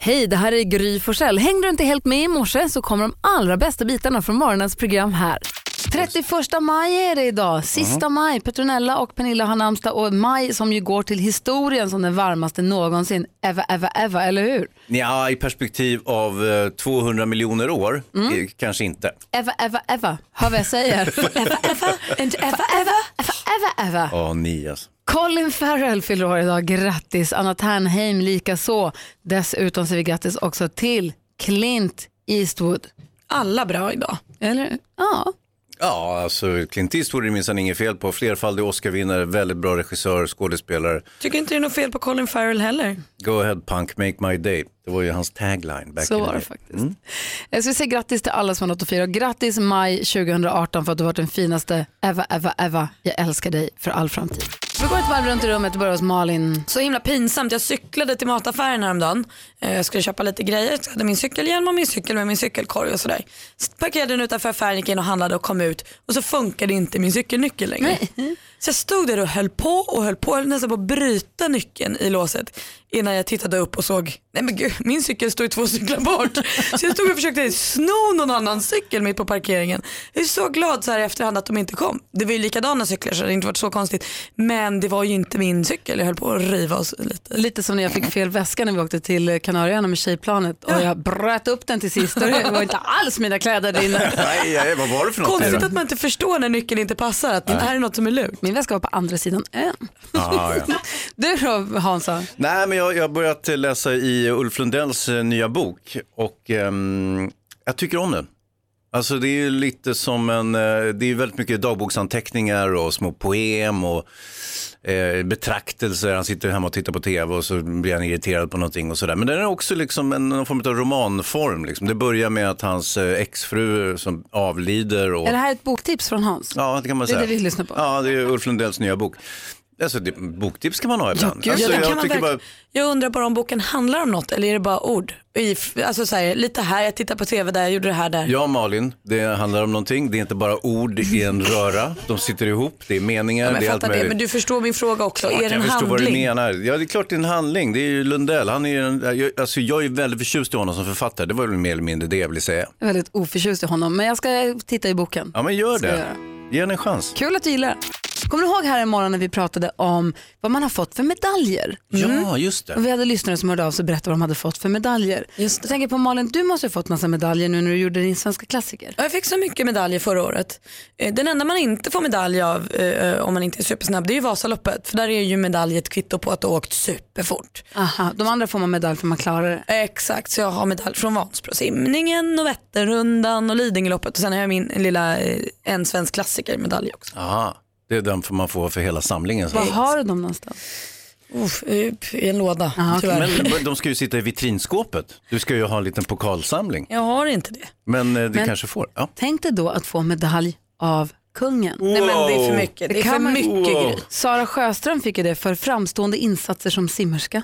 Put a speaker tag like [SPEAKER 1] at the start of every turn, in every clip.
[SPEAKER 1] Hej, det här är Gry Forssell. Hängde du inte helt med i morse så kommer de allra bästa bitarna från morgonens program här. 31 maj är det idag, sista maj. Petronella och Pernilla har namnsdag och maj som ju går till historien som den varmaste någonsin. Eva, Eva, Eva, eller hur?
[SPEAKER 2] Ja, i perspektiv av eh, 200 miljoner år,
[SPEAKER 1] Mm.
[SPEAKER 2] eh, kanske inte.
[SPEAKER 1] Eva, Eva, Eva, hör vad jag säger. Eva, Eva, inte Eva, Eva, Eva, Eva, Eva.
[SPEAKER 2] Ja, ni alltså.
[SPEAKER 1] Colin Farrell fyller år idag, grattis. Anna Ternheim likaså. Dessutom säger vi grattis också till Clint Eastwood.
[SPEAKER 3] Alla bra idag.
[SPEAKER 1] Eller? Ja.
[SPEAKER 2] Ja, alltså Clint Eastwood är minsann inget fel på. Flerfaldig Oscarvinnare, väldigt bra regissör, skådespelare.
[SPEAKER 3] Tycker inte det är något fel på Colin Farrell heller.
[SPEAKER 2] Go ahead punk, make my day. Det var ju hans tagline back
[SPEAKER 1] Så
[SPEAKER 2] in the
[SPEAKER 1] var det
[SPEAKER 2] day.
[SPEAKER 1] faktiskt. Eh, Jag ska säga grattis till alla som har något att fira. Och Grattis maj 2018 för att du har varit den finaste Eva, Eva, Eva. Jag älskar dig för all framtid. Vi går ett varv runt i rummet och börjar hos Malin.
[SPEAKER 3] Så himla pinsamt. Jag cyklade till mataffären häromdagen. Eh, Jag skulle köpa lite grejer. Jag hade min cykelhjälm och min cykel med min cykelkorg och sådär. Så parkerade den utanför affären, gick in och handlade och kom ut och så funkade inte min cykelnyckel längre. Så jag stod där och höll på och höll på. Jag höll nästan på att bryta nyckeln i låset innan jag tittade upp och såg, nej men gud min cykel står ju två cyklar bort. Så jag stod och försökte sno någon annans cykel mitt på parkeringen. Jag är så glad så här i efterhand att de inte kom. Det var ju likadana cyklar så det hade inte varit så konstigt. Men det var ju inte min cykel, jag höll på att riva oss lite.
[SPEAKER 1] Lite som när jag fick
[SPEAKER 2] Mm.
[SPEAKER 1] fel väska när vi åkte till Kanarieöarna med tjejplanet och jag bröt upp den till sist och det var inte alls mina kläder där inne.
[SPEAKER 2] Nej, nej, vad var det för något?
[SPEAKER 3] Konstigt att man inte förstår när nyckeln inte passar, att det här är något som är lugnt.
[SPEAKER 1] Min väska var på andra sidan ön.
[SPEAKER 2] Ah, ja.
[SPEAKER 1] Du då Hansa?
[SPEAKER 2] Nej, men jag jag har börjat läsa i Ulf Lundells eh, nya bok och ehm, jag tycker om den. Alltså det är ju lite som en, eh, det är väldigt mycket dagboksanteckningar och små poem och eh, betraktelser. Han sitter hemma och tittar på tv och så blir han irriterad på någonting och sådär. Men den är också liksom en, någon form av romanform. Liksom. Det börjar med att hans eh, exfru som avlider. Och,
[SPEAKER 1] Är det här ett boktips från Hans?
[SPEAKER 2] Ja, det kan man
[SPEAKER 1] Det är
[SPEAKER 2] säga.
[SPEAKER 1] det vi lyssnar på.
[SPEAKER 2] Ja, det är Ulf Lundells nya bok. Alltså, det, boktips kan man ha ibland.
[SPEAKER 1] gud,
[SPEAKER 2] alltså,
[SPEAKER 3] Ja, det kan
[SPEAKER 2] jag
[SPEAKER 3] man
[SPEAKER 2] tycker
[SPEAKER 3] verkligen-
[SPEAKER 2] bara,
[SPEAKER 3] jag undrar bara om boken handlar om något eller är det bara ord? I, alltså så här, lite här, jag tittar på tv där, jag gjorde det här där.
[SPEAKER 2] Ja, Malin, det handlar om någonting. Det är inte bara ord i en röra. De sitter ihop, det är meningar,
[SPEAKER 3] Ja, men
[SPEAKER 2] det är
[SPEAKER 3] jag
[SPEAKER 2] allt
[SPEAKER 3] fattar det,
[SPEAKER 2] möjligt.
[SPEAKER 3] men du förstår min fråga också. är det en
[SPEAKER 2] jag förstår vad du
[SPEAKER 3] handling?
[SPEAKER 2] menar. Ja, det är klart det är en handling. Det är ju Lundell. Han är ju en, jag, alltså, jag är väldigt förtjust i honom som författare. Det var väl mer eller mindre det jag ville säga.
[SPEAKER 1] Jag är väldigt oförtjust i honom men jag ska titta i boken.
[SPEAKER 2] Ja, men gör
[SPEAKER 1] Ska jag
[SPEAKER 2] det.
[SPEAKER 1] göra.
[SPEAKER 2] Ge henne en chans.
[SPEAKER 1] Kul att du gillar det. Kommer du ihåg här en morgon när vi pratade om vad man har fått för medaljer?
[SPEAKER 3] Mm.
[SPEAKER 2] Ja, just
[SPEAKER 1] Och
[SPEAKER 2] det.
[SPEAKER 1] vi hade lyssnare som hörde av sig och berättade vad de hade fått för medaljer.
[SPEAKER 3] Just det.
[SPEAKER 1] Jag tänker på Malin, du måste ju ha fått massa medaljer nu när du gjorde din svenska klassiker.
[SPEAKER 3] Ja, Jag fick så mycket medaljer förra året. Eh, Den enda man inte får medalj av eh, om man inte är supersnabb det är ju Vasaloppet. För där är ju medalj ett kvitto på att du har åkt superfort.
[SPEAKER 1] Aha, de andra får man medalj för man klarar det.
[SPEAKER 3] Exakt, så jag har medalj från Vansbrosimningen och Vätternrundan och Lidingöloppet och sen har jag min lilla eh, en svensk klassiker medalj också.
[SPEAKER 2] Aha, det är den man får för hela samlingen.
[SPEAKER 1] Var har du dem någonstans?
[SPEAKER 3] Uff, upp I en låda
[SPEAKER 1] Ja, okej.
[SPEAKER 3] tyvärr.
[SPEAKER 2] Men de ska ju sitta i vitrinskåpet. Du ska ju ha en liten pokalsamling.
[SPEAKER 3] Jag har inte det.
[SPEAKER 2] Men eh, det kanske får. Ja.
[SPEAKER 1] Tänk dig då att få medalj av kungen.
[SPEAKER 3] Nej men det är för mycket. Det, är
[SPEAKER 1] kan
[SPEAKER 3] för
[SPEAKER 1] man-
[SPEAKER 3] mycket
[SPEAKER 2] Wow.
[SPEAKER 3] grej.
[SPEAKER 1] Sara Sjöström fick ju det för framstående insatser som simmerska.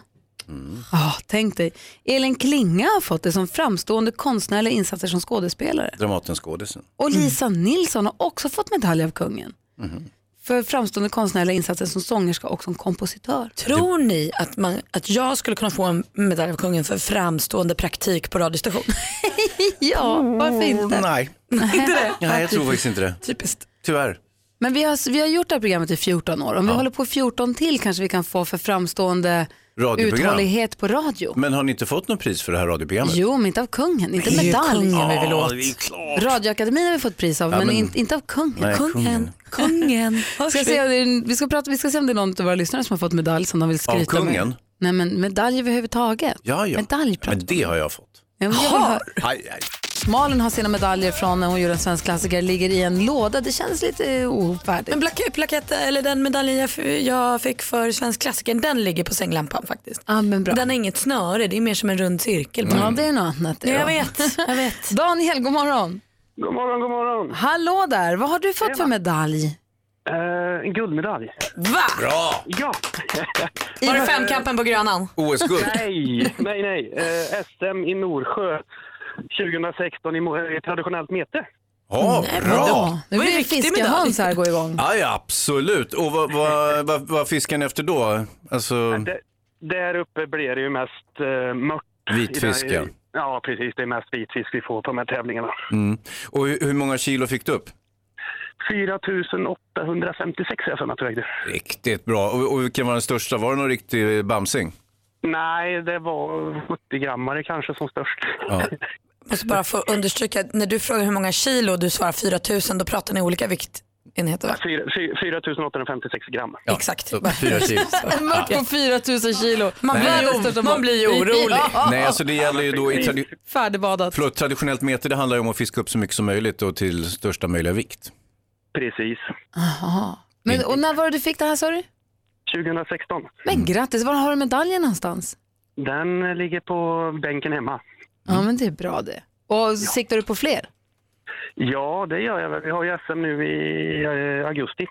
[SPEAKER 1] Ah, tänk dig. Elin Klinga har fått det som framstående konstnärliga insatser som skådespelare.
[SPEAKER 2] Dramatenskådisen.
[SPEAKER 1] Och Lisa Nilsson har också fått medalj av kungen.
[SPEAKER 2] Mm-hmm.
[SPEAKER 1] För framstående konstnärliga insatser som sångerska och som kompositör.
[SPEAKER 3] Tror ni att, man, att jag skulle kunna få en medalj av kungen för framstående praktik på radiostation?
[SPEAKER 1] Ja, varför inte?
[SPEAKER 2] Nej.
[SPEAKER 3] inte det?
[SPEAKER 2] Nej, jag tror faktiskt inte det.
[SPEAKER 3] Typiskt.
[SPEAKER 2] Tyvärr.
[SPEAKER 1] Men vi har, vi har gjort det här programmet i 14 år. Om vi håller på i 14 till kanske vi kan få för framstående
[SPEAKER 2] Radioprogram.
[SPEAKER 1] uthållighet på radio.
[SPEAKER 2] Men har ni inte fått något pris för det här radioprogrammet?
[SPEAKER 1] Jo, men inte av kungen, inte
[SPEAKER 3] Det är ju
[SPEAKER 1] medalj.
[SPEAKER 3] kungen vi vill åt.
[SPEAKER 1] Radioakademin har vi fått pris av, men,
[SPEAKER 2] men-
[SPEAKER 1] inte, inte av kungen.
[SPEAKER 2] Nej,
[SPEAKER 1] Kung-
[SPEAKER 3] Kungen, kungen.
[SPEAKER 1] Ska jag säga, det är- vi, ska prata, vi ska se om det är någon av våra lyssnare som har fått medalj som de vill skryta
[SPEAKER 2] Av kungen?
[SPEAKER 1] med. Nej, men medalj överhuvudtaget.
[SPEAKER 2] Ja, ja.
[SPEAKER 1] Medalj pratar
[SPEAKER 2] Men det har jag fått.
[SPEAKER 1] jag vill ha.
[SPEAKER 2] Aj, aj.
[SPEAKER 1] Malin har sina medaljer från när hon gjorde en svensk klassiker, ligger i en låda. Det känns lite eh, ofärdigt.
[SPEAKER 3] Men plak- plaketten, eller den medaljen jag, f- jag fick för svensk klassiker, den ligger på sänglampan faktiskt.
[SPEAKER 1] Ja, men bra.
[SPEAKER 3] Den har inget snöre, det är mer som en rund cirkel.
[SPEAKER 1] Ja, det är något annat. det
[SPEAKER 3] Mm. Ja,
[SPEAKER 1] då.
[SPEAKER 3] jag vet, jag vet.
[SPEAKER 1] Daniel, god morgon.
[SPEAKER 4] God morgon, god morgon.
[SPEAKER 1] Hallå där, vad har du fått för medalj?
[SPEAKER 4] Eh, en guldmedalj.
[SPEAKER 3] Va?
[SPEAKER 2] Bra!
[SPEAKER 4] Ja!
[SPEAKER 3] Var det femkampen på Grönan?
[SPEAKER 2] OS-guld.
[SPEAKER 4] nej, nej, nej. Eh, SM i Norsjö 2016 i, mo- i traditionellt mete.
[SPEAKER 2] Ja, bra!
[SPEAKER 1] Ja, nu
[SPEAKER 3] Vad är
[SPEAKER 1] blir det
[SPEAKER 3] riktig
[SPEAKER 1] fiskehöns här gå igång.
[SPEAKER 2] Aj, absolut. Och vad, vad, vad, vad fiskar ni efter då? Alltså,
[SPEAKER 4] D- där uppe blir det ju mest eh, mört
[SPEAKER 2] Vitfisk, ja.
[SPEAKER 4] Ja, precis. Det är mest vitfisk vi får på de här tävlingarna.
[SPEAKER 2] Mm. Och hur, hur många kilo fick du upp?
[SPEAKER 4] 4856 är jag för mig att jag vägde.
[SPEAKER 2] Riktigt bra. Och, och vilken var den största? Var det någon riktig bamsing?
[SPEAKER 4] Nej, det var 70 grammare kanske som störst.
[SPEAKER 2] Ja.
[SPEAKER 3] Måste bara få understryka, att när du frågar hur många kilo och du svarar 4000 då pratar ni olika viktenheter va?
[SPEAKER 4] 4, 4856 gram.
[SPEAKER 3] Exakt.
[SPEAKER 2] Så, fyra kilo.
[SPEAKER 1] En mört på 4 000 kilo.
[SPEAKER 3] Man blir
[SPEAKER 1] Världens
[SPEAKER 3] o-
[SPEAKER 1] största
[SPEAKER 3] man
[SPEAKER 1] mat.
[SPEAKER 3] blir ju orolig.
[SPEAKER 1] Ja,
[SPEAKER 2] Nej, alltså det gäller ju då i tradi-
[SPEAKER 1] Färdigbadat.
[SPEAKER 2] förlåt, traditionellt mete, det handlar ju om att fiska upp så mycket som möjligt och till största möjliga vikt.
[SPEAKER 4] Precis.
[SPEAKER 1] Aha. Men, och när var det du fick det här sa du?
[SPEAKER 4] 2016.
[SPEAKER 3] Mm.
[SPEAKER 1] Men grattis, var har du medaljen någonstans?
[SPEAKER 4] Den ligger på bänken hemma.
[SPEAKER 1] Ja
[SPEAKER 3] Mm.
[SPEAKER 1] men det är bra det. Och siktar du på fler?
[SPEAKER 4] Ja, det gör jag väl. Vi har ju SM nu i eh, augusti.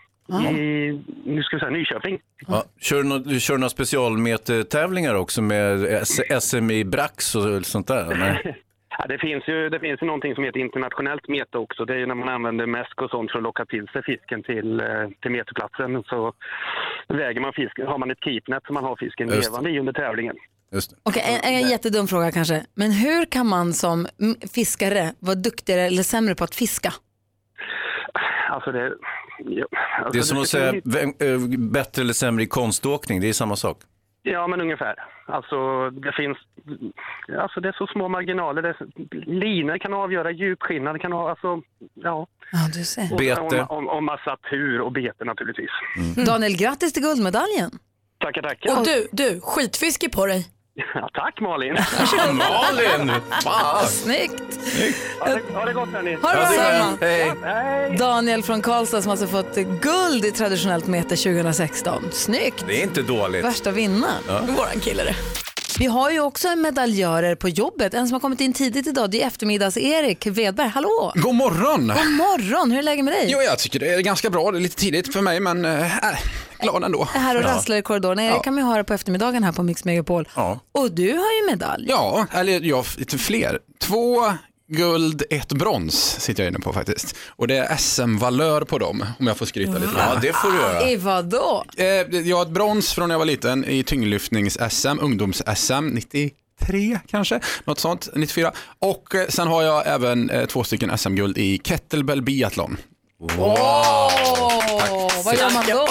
[SPEAKER 4] I, nu ska vi säga Nyköping.
[SPEAKER 2] Ja. Kör du nå- du kör några specialmetetävlingar också med S- SM i brax och sånt där? Nej.
[SPEAKER 4] Ja, det, finns ju, det finns ju någonting som heter internationellt mete också. Det är ju när man använder mäsk och sånt för att locka till sig fisken till, eh, till meteplatsen. Så väger man fisken, har man ett keepnet som man har fisken
[SPEAKER 2] Just det.
[SPEAKER 4] levande i under tävlingen.
[SPEAKER 2] Just det.
[SPEAKER 1] Okej, en, en jättedum fråga kanske. Men hur kan man som mm, fiskare vara duktigare eller sämre på att fiska?
[SPEAKER 4] Alltså det, ja, alltså
[SPEAKER 2] Det är som
[SPEAKER 4] du
[SPEAKER 2] att
[SPEAKER 4] ska
[SPEAKER 2] säga
[SPEAKER 4] kunna
[SPEAKER 2] vem, eh, bättre eller sämre i konståkning, det är samma sak.
[SPEAKER 4] Ja, men ungefär. Alltså, det finns... Alltså, det är så små marginaler. Det är, linor kan avgöra, djupskillnad kan ha... Alltså, ja.
[SPEAKER 1] Ja, du ser.
[SPEAKER 2] Bete.
[SPEAKER 4] Och, och, och massa tur och bete naturligtvis.
[SPEAKER 1] Daniel, grattis till guldmedaljen.
[SPEAKER 4] Tackar, tackar.
[SPEAKER 3] Och du, du, skitfiske på dig.
[SPEAKER 4] Ja, tack Malin!
[SPEAKER 2] Malin! Fan!
[SPEAKER 1] Snyggt!
[SPEAKER 4] Ha det, ha det gott hörni!
[SPEAKER 1] Ha det
[SPEAKER 2] Ja, det
[SPEAKER 1] bra.
[SPEAKER 2] är- Hej!
[SPEAKER 4] Hej!
[SPEAKER 1] Daniel från Karlstad som alltså fått guld i traditionellt mete 2016. Snyggt!
[SPEAKER 2] Det är inte dåligt.
[SPEAKER 1] Värsta vinnaren.
[SPEAKER 3] Våran kille det.
[SPEAKER 1] Vi har ju också medaljörer på jobbet. En som har kommit in tidigt idag, det är eftermiddags-Erik Wedberg. Hallå!
[SPEAKER 5] God morgon!
[SPEAKER 2] Mm.
[SPEAKER 1] God morgon, hur är läget med dig?
[SPEAKER 5] Jo, jag tycker det är ganska bra. Det är lite tidigt för mig, men eh, äh, glad ändå.
[SPEAKER 1] är här och rasslar i korridoren. Erik kan vi höra på eftermiddagen här på Mix Megapol.
[SPEAKER 2] Ja.
[SPEAKER 1] Och du har ju medalj.
[SPEAKER 5] Ja, eller ja, lite fler. Två guld, ett brons sitter jag inne på faktiskt. Och det är SM-valör på dem, om jag får skryta lite.
[SPEAKER 2] Ja,
[SPEAKER 5] grann.
[SPEAKER 2] det får du göra.
[SPEAKER 1] I vadå?
[SPEAKER 5] Eh, det- Jag har ett brons från när jag var liten i tyngdlyftnings-SM, ungdoms-SM, 93 kanske, något sånt, 94. Och eh, sen har jag även eh, två stycken SM-guld i kettlebell biathlon.
[SPEAKER 1] Åh, vad gör man då?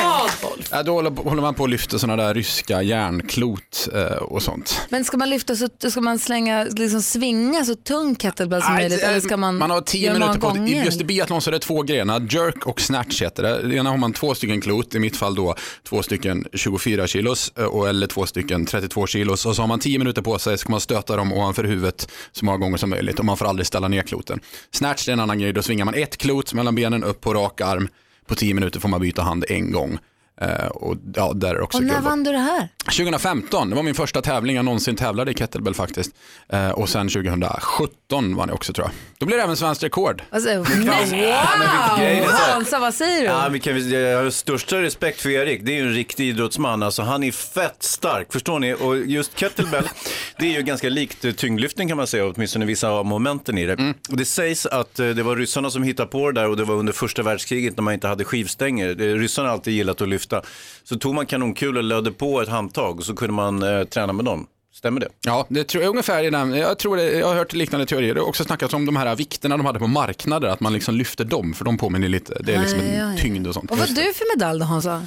[SPEAKER 5] Ja, då håller- håller man på och lyfter sådana där ryska järnklot eh, och sånt.
[SPEAKER 1] Men ska man lyfta så ska man slänga, liksom svinga så tung kettlebell som
[SPEAKER 5] Nej,
[SPEAKER 1] möjligt?
[SPEAKER 5] eh,
[SPEAKER 1] Eller ska man,
[SPEAKER 5] har tio
[SPEAKER 1] göra
[SPEAKER 5] minuter
[SPEAKER 1] många
[SPEAKER 5] på sig. I-
[SPEAKER 1] gånger?
[SPEAKER 5] Just i biathlon så är det två grenar, jerk och snatch heter det. I ena har man två stycken klot, i mitt fall då två stycken 24 kilos eh, och, eller två stycken 32 kilos. Och så har man tio minuter på sig så kan man stöta dem ovanför huvudet så många gånger som möjligt och man får aldrig ställa ner kloten. Snatch det är en annan grej, då svingar man ett klot mellan benen upp på rak arm. På tio minuter får man byta hand en gång. Eh, och ja, där är det också
[SPEAKER 1] Och när
[SPEAKER 5] kul.
[SPEAKER 1] vann du det här?
[SPEAKER 5] 2015, det var min första tävling jag någonsin tävlade i kettlebell faktiskt. Eh, och sen 2017 vann jag också tror jag. Då blev det även svenskt rekord.
[SPEAKER 1] Alltså, nej,
[SPEAKER 2] grej
[SPEAKER 1] wow!
[SPEAKER 2] det är.
[SPEAKER 1] Hansa, vad säger du?
[SPEAKER 2] Ja, vi kan, jag har största respekt för Erik, det är ju en riktig idrottsman. Alltså, han är fett stark, förstår ni? Och just kettlebell, det är ju ganska likt eh, tyngdlyftning kan man säga, åtminstone vissa av momenten i det. Och det sägs att eh, det var ryssarna som hittade på det där och det var under första världskriget när man inte hade skivstänger. Eh, Ryssarna har alltid gillat att lyfta. Så tog man kanonkulor och lödde på ett handtag och så kunde man eh, träna med dem. Stämmer det?
[SPEAKER 5] Ja, det tror jag ungefär i den, jag tror det, jag har hört liknande teorier. Det har också snackats om de här vikterna de hade på marknader, att man liksom lyfter dem för de påminner lite, det är liksom
[SPEAKER 1] Ja, ja,
[SPEAKER 5] en
[SPEAKER 1] ja.
[SPEAKER 5] tyngd och sånt.
[SPEAKER 1] Och vad har du för medalj då Hansa?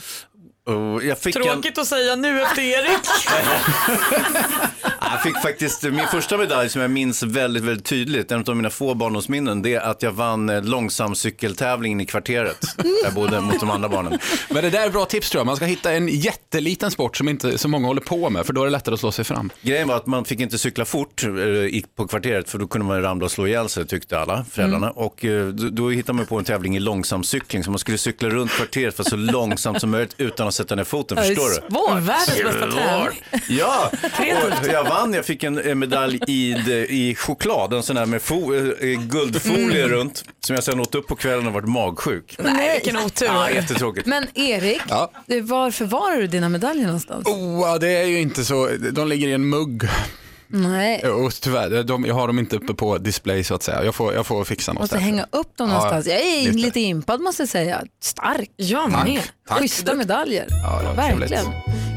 [SPEAKER 2] Och jag fick en-
[SPEAKER 3] Tråkigt att säga nu efter Erik.
[SPEAKER 2] Jag fick faktiskt min första medalj som jag minns väldigt, väldigt tydligt, en av mina få barndomsminnen, det är att jag vann eh, långsamcykeltävlingen i kvarteret. Där jag bodde mot de andra barnen.
[SPEAKER 5] Men det där är bra tips tror jag, man ska hitta en jätteliten sport som inte så många håller på med, för då är det lättare att slå sig fram.
[SPEAKER 2] Grejen var att man fick inte cykla fort eh, i- på kvarteret för då kunde man ramla och slå ihjäl sig tyckte alla föräldrarna. Och eh, då, då hittade man på en tävling i långsamcykling så man skulle cykla runt kvarteret för så långsamt som möjligt utan att sätta ner foten. Förstår du?
[SPEAKER 1] Svår.
[SPEAKER 3] Världens bästa tävling.
[SPEAKER 2] Ja, och jag vann. Jag fick en en medalj i, de- i choklad, en sån här med fo- eh, guldfolie
[SPEAKER 1] Mm.
[SPEAKER 2] runt, som jag sen åt upp på kvällen och varit magsjuk.
[SPEAKER 3] Nej, vilken
[SPEAKER 2] Ja,
[SPEAKER 3] otur.
[SPEAKER 2] jättetråkigt.
[SPEAKER 1] Men Erik,
[SPEAKER 5] Ja.
[SPEAKER 1] du, var förvarar du dina medaljer någonstans?
[SPEAKER 5] Oh, det är ju inte så, de ligger i en mugg.
[SPEAKER 1] Nej.
[SPEAKER 5] Och tyvärr, de, jag har dem inte uppe på display så att säga. Jag får, jag får fixa något.
[SPEAKER 1] Måste
[SPEAKER 5] där.
[SPEAKER 1] hänga upp dem
[SPEAKER 5] Ja,
[SPEAKER 1] någonstans. Jag är
[SPEAKER 5] lite.
[SPEAKER 1] lite impad måste jag säga. Stark.
[SPEAKER 3] Jag
[SPEAKER 5] Tack.
[SPEAKER 3] med.
[SPEAKER 5] Tack.
[SPEAKER 1] Schyssta medaljer.
[SPEAKER 5] Ja, det var
[SPEAKER 1] Verkligen.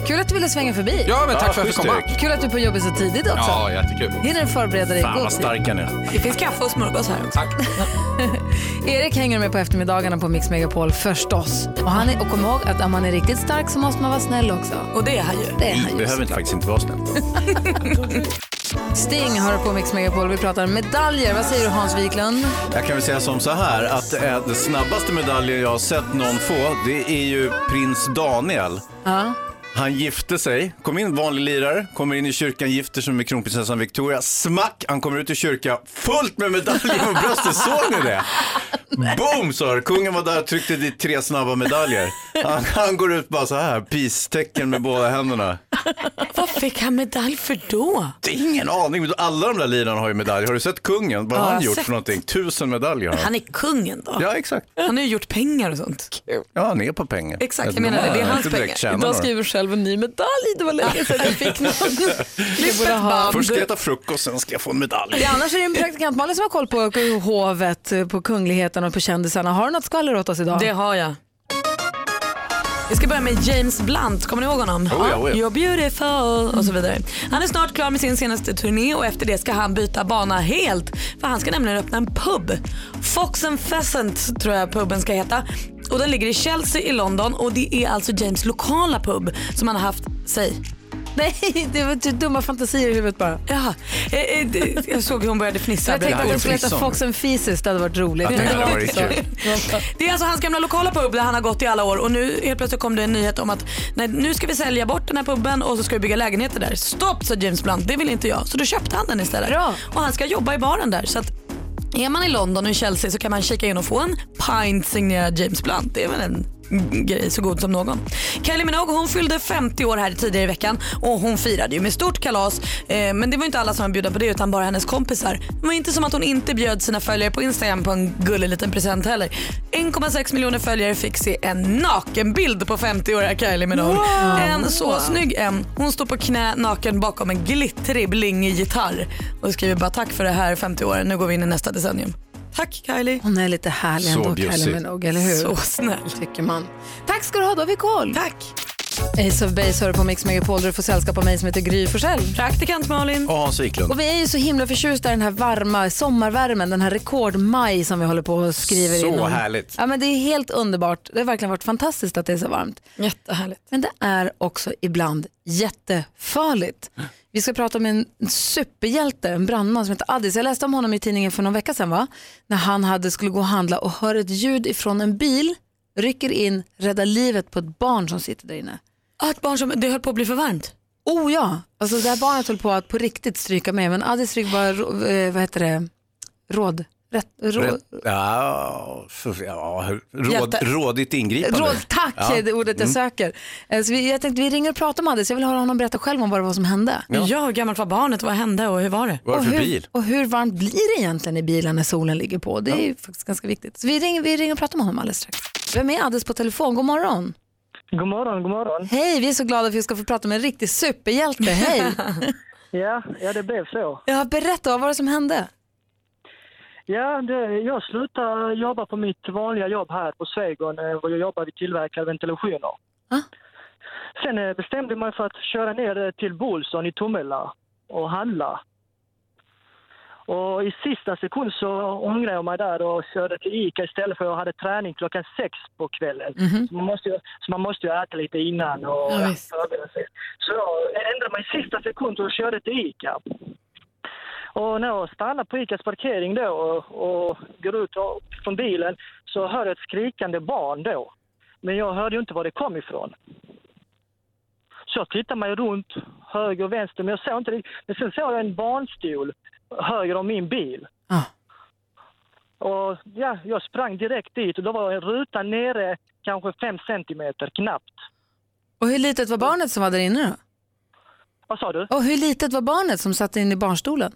[SPEAKER 1] Kul att du ville svänga förbi.
[SPEAKER 5] Ja, men tack
[SPEAKER 2] Ja,
[SPEAKER 5] för att jag
[SPEAKER 2] schysst,
[SPEAKER 5] fick komma.
[SPEAKER 2] Erik.
[SPEAKER 1] Kul att du är på jobbet så tidigt också.
[SPEAKER 5] Ja, jättekul.
[SPEAKER 1] Hinner du förbereda dig i
[SPEAKER 2] Fan
[SPEAKER 1] god
[SPEAKER 2] vad
[SPEAKER 1] tid?
[SPEAKER 2] stark han är.
[SPEAKER 3] Det finns kaffe och smörgås här också.
[SPEAKER 5] Tack.
[SPEAKER 1] Erik hänger med på eftermiddagarna på Mix Megapol förstås. Och, han är, och kom ihåg att om man är riktigt stark så måste man vara snäll också.
[SPEAKER 3] Och det är han ju.
[SPEAKER 1] Det är han
[SPEAKER 2] Vi
[SPEAKER 1] ju.
[SPEAKER 2] behöver inte, faktiskt inte vara snäll.
[SPEAKER 1] Sting hör på Mix Megapol. Vi pratar medaljer. Vad säger du Hans Wiklund?
[SPEAKER 2] Jag kan väl säga som så här att eh, den snabbaste medaljen jag har sett någon få det är ju prins Daniel.
[SPEAKER 1] Ja.
[SPEAKER 2] Han gifte sig, kom in vanlig lirare, kommer in i kyrkan, gifter sig med kronprinsessan Victoria. Smack! Han kommer ut ur kyrkan fullt med medaljer på bröstet. Såg ni det? Boom sa det. Kungen var där och tryckte dit tre snabba medaljer. Han, han går ut bara så här, peace-tecken med båda händerna.
[SPEAKER 3] Vad fick han medalj för då?
[SPEAKER 2] Det är ingen aning. men Alla de där lirarna har ju medaljer. Har du sett kungen? Vad har
[SPEAKER 3] jag
[SPEAKER 2] han
[SPEAKER 3] har
[SPEAKER 2] gjort
[SPEAKER 3] sett.
[SPEAKER 2] för någonting? Tusen medaljer har han.
[SPEAKER 3] Han är kungen då.
[SPEAKER 2] Ja, exakt.
[SPEAKER 3] Han har ju gjort pengar och sånt.
[SPEAKER 2] Ja, han är på pengar.
[SPEAKER 3] Exakt, jag menar det. Det är hans pengar.
[SPEAKER 2] Idag ska
[SPEAKER 1] du själv en ny medalj. Det var länge sedan jag fick någon. Det borde ha.
[SPEAKER 2] Först ska jag äta frukost, sen ska jag få en medalj.
[SPEAKER 1] Det är annars är det en praktikant Malin som har koll på hovet, på kungligheten och på kändisarna. Har du något skvaller åt oss idag?
[SPEAKER 3] Det har jag. Vi ska börja med James Blunt, kommer ni ihåg honom?
[SPEAKER 2] Oh ja, oh ja.
[SPEAKER 3] You're beautiful och så vidare. Han är snart klar med sin senaste turné och efter det ska han byta bana helt. För han ska nämligen öppna en pub. Fox and Pheasant tror jag puben ska heta. Och den ligger i Chelsea i London och det är alltså James lokala pub som han har haft, säg
[SPEAKER 1] Nej, det var typ dumma fantasier i huvudet bara.
[SPEAKER 3] Ja, eh, eh, det- jag såg hur hon började fnissa.
[SPEAKER 1] Jag tänkte att
[SPEAKER 2] ju
[SPEAKER 1] den
[SPEAKER 2] en
[SPEAKER 1] skulle heta
[SPEAKER 2] frisson.
[SPEAKER 1] Fox and Feces, det hade varit roligt.
[SPEAKER 2] Jag tänkte
[SPEAKER 1] Men
[SPEAKER 2] det var
[SPEAKER 1] inte
[SPEAKER 2] riktigt.
[SPEAKER 1] så.
[SPEAKER 3] Det är alltså hans gamla lokala pub där han har gått i alla år och nu helt plötsligt kom det en nyhet om att nej, nu ska vi sälja bort den här puben och så ska vi bygga lägenheter där. Stopp sa James Blunt, det vill inte jag. Så då köpte han den istället.
[SPEAKER 1] Bra.
[SPEAKER 3] Och han ska jobba i baren där. Så att är man i London och i Chelsea så kan man kika in och få en pint signerad James Blunt. Det är väl en grej så god som någon. Kylie Minogue hon fyllde 50 år här tidigare i veckan och hon firade ju med stort kalas. Eh, men det var inte alla som var bjudna på det utan bara hennes kompisar. Det var inte som att hon inte bjöd sina följare på Instagram på en gullig liten present heller. 1,6 miljoner följare fick se en nakenbild på 50-åriga Kylie Minogue. En så snygg en. Hon står på knä naken bakom en glittrig blingig gitarr och skriver bara tack för det här 50 åren, nu går vi in i nästa decennium. Tack Kylie.
[SPEAKER 1] Hon är lite härlig
[SPEAKER 2] Så
[SPEAKER 1] ändå, Kylie
[SPEAKER 2] bjussig.
[SPEAKER 1] Minogue, eller hur?
[SPEAKER 3] Så snäll.
[SPEAKER 1] Tycker man. Tack ska du ha, då har vi koll.
[SPEAKER 3] Tack.
[SPEAKER 1] Ace of Base hör på Mix Megapol där du får sällskap av mig som heter Gry Forssell.
[SPEAKER 3] Praktikant Malin.
[SPEAKER 2] Och Hans Wiklund.
[SPEAKER 1] Och vi är ju så himla förtjusta i den här varma sommarvärmen, den här rekordmaj som vi håller på och skriver
[SPEAKER 2] Så
[SPEAKER 1] in. om.
[SPEAKER 2] härligt.
[SPEAKER 1] Ja, men det är helt underbart. Det har verkligen varit fantastiskt att det är så varmt.
[SPEAKER 3] Jättehärligt.
[SPEAKER 1] Men det är också ibland jättefarligt. Vi ska prata om en superhjälte, en brandman som heter Addis. Jag läste om honom i tidningen för någon vecka sedan, va? när han hade, skulle gå och handla och hör ett ljud ifrån en bil, rycker in, räddar livet på ett barn som sitter där inne.
[SPEAKER 3] Ah, ett barn som, det höll på att bli för varmt.
[SPEAKER 1] Oh ja, alltså det här barnet höll på att på riktigt stryka med, men Addis fick bara, rå- eh, vad heter det, råd. Rätt, rå,
[SPEAKER 2] Rätt- Ja, för, ja, råd,
[SPEAKER 1] Hjälte.
[SPEAKER 2] rådigt ingripande.
[SPEAKER 1] Råd, tack
[SPEAKER 2] Ja. Mm.
[SPEAKER 1] är det ordet jag söker. Eh, Så vi, jag tänkte vi ringer och pratar med Addis, jag vill höra honom berätta själv om vad det var som hände.
[SPEAKER 3] Ja. hur gammalt var barnet och vad hände och hur var det?
[SPEAKER 2] Vad är
[SPEAKER 1] och
[SPEAKER 2] det för
[SPEAKER 1] hur,
[SPEAKER 2] bil?
[SPEAKER 1] Och hur varmt blir det egentligen i bilen när solen ligger på? Det är ju faktiskt ganska viktigt. Så vi ringer, vi ringer och pratar med honom alldeles strax. Vem är Addis på telefon? God morgon.
[SPEAKER 6] God morgon, god morgon.
[SPEAKER 1] Hej, vi är så glada för att vi ska få prata med en riktig superhjälte. Hej!
[SPEAKER 6] Ja, ja det blev så.
[SPEAKER 1] ja, berätta, vad var det som hände?
[SPEAKER 6] Ja, det, jag slutade jobba på mitt vanliga jobb här på Swegon. eh, och Jag jobbar vid tillverkare av ventilationer.
[SPEAKER 1] Ah.
[SPEAKER 6] Sen eh, bestämde jag mig för att köra ner eh, till Bolson i Tomella och handla. Och i sista sekund så ångrade jag mig där och körde till Ica istället för jag hade träning klockan sex på kvällen. Så, man måste ju, så man måste ju äta lite innan och
[SPEAKER 1] Mhm. Ja, visst.
[SPEAKER 6] förbereda sig. Så jag ändrade mig i sista sekund och körde till Ica. Och när jag stannar på Icas parkering då och, och går ut och- från bilen så hör jag ett skrikande barn då. Men jag hörde ju inte var det kom ifrån. Så jag tittar mig runt höger och vänster men jag såg inte riktigt. Men sen såg jag en barnstol höger om min bil.
[SPEAKER 1] Ah.
[SPEAKER 6] Och ja, jag sprang direkt dit och då var en ruta nere kanske fem centimeter knappt.
[SPEAKER 1] Och hur litet var barnet som var där inne då?
[SPEAKER 6] Vad sa du?
[SPEAKER 1] Och hur litet var barnet som satt inne i barnstolen?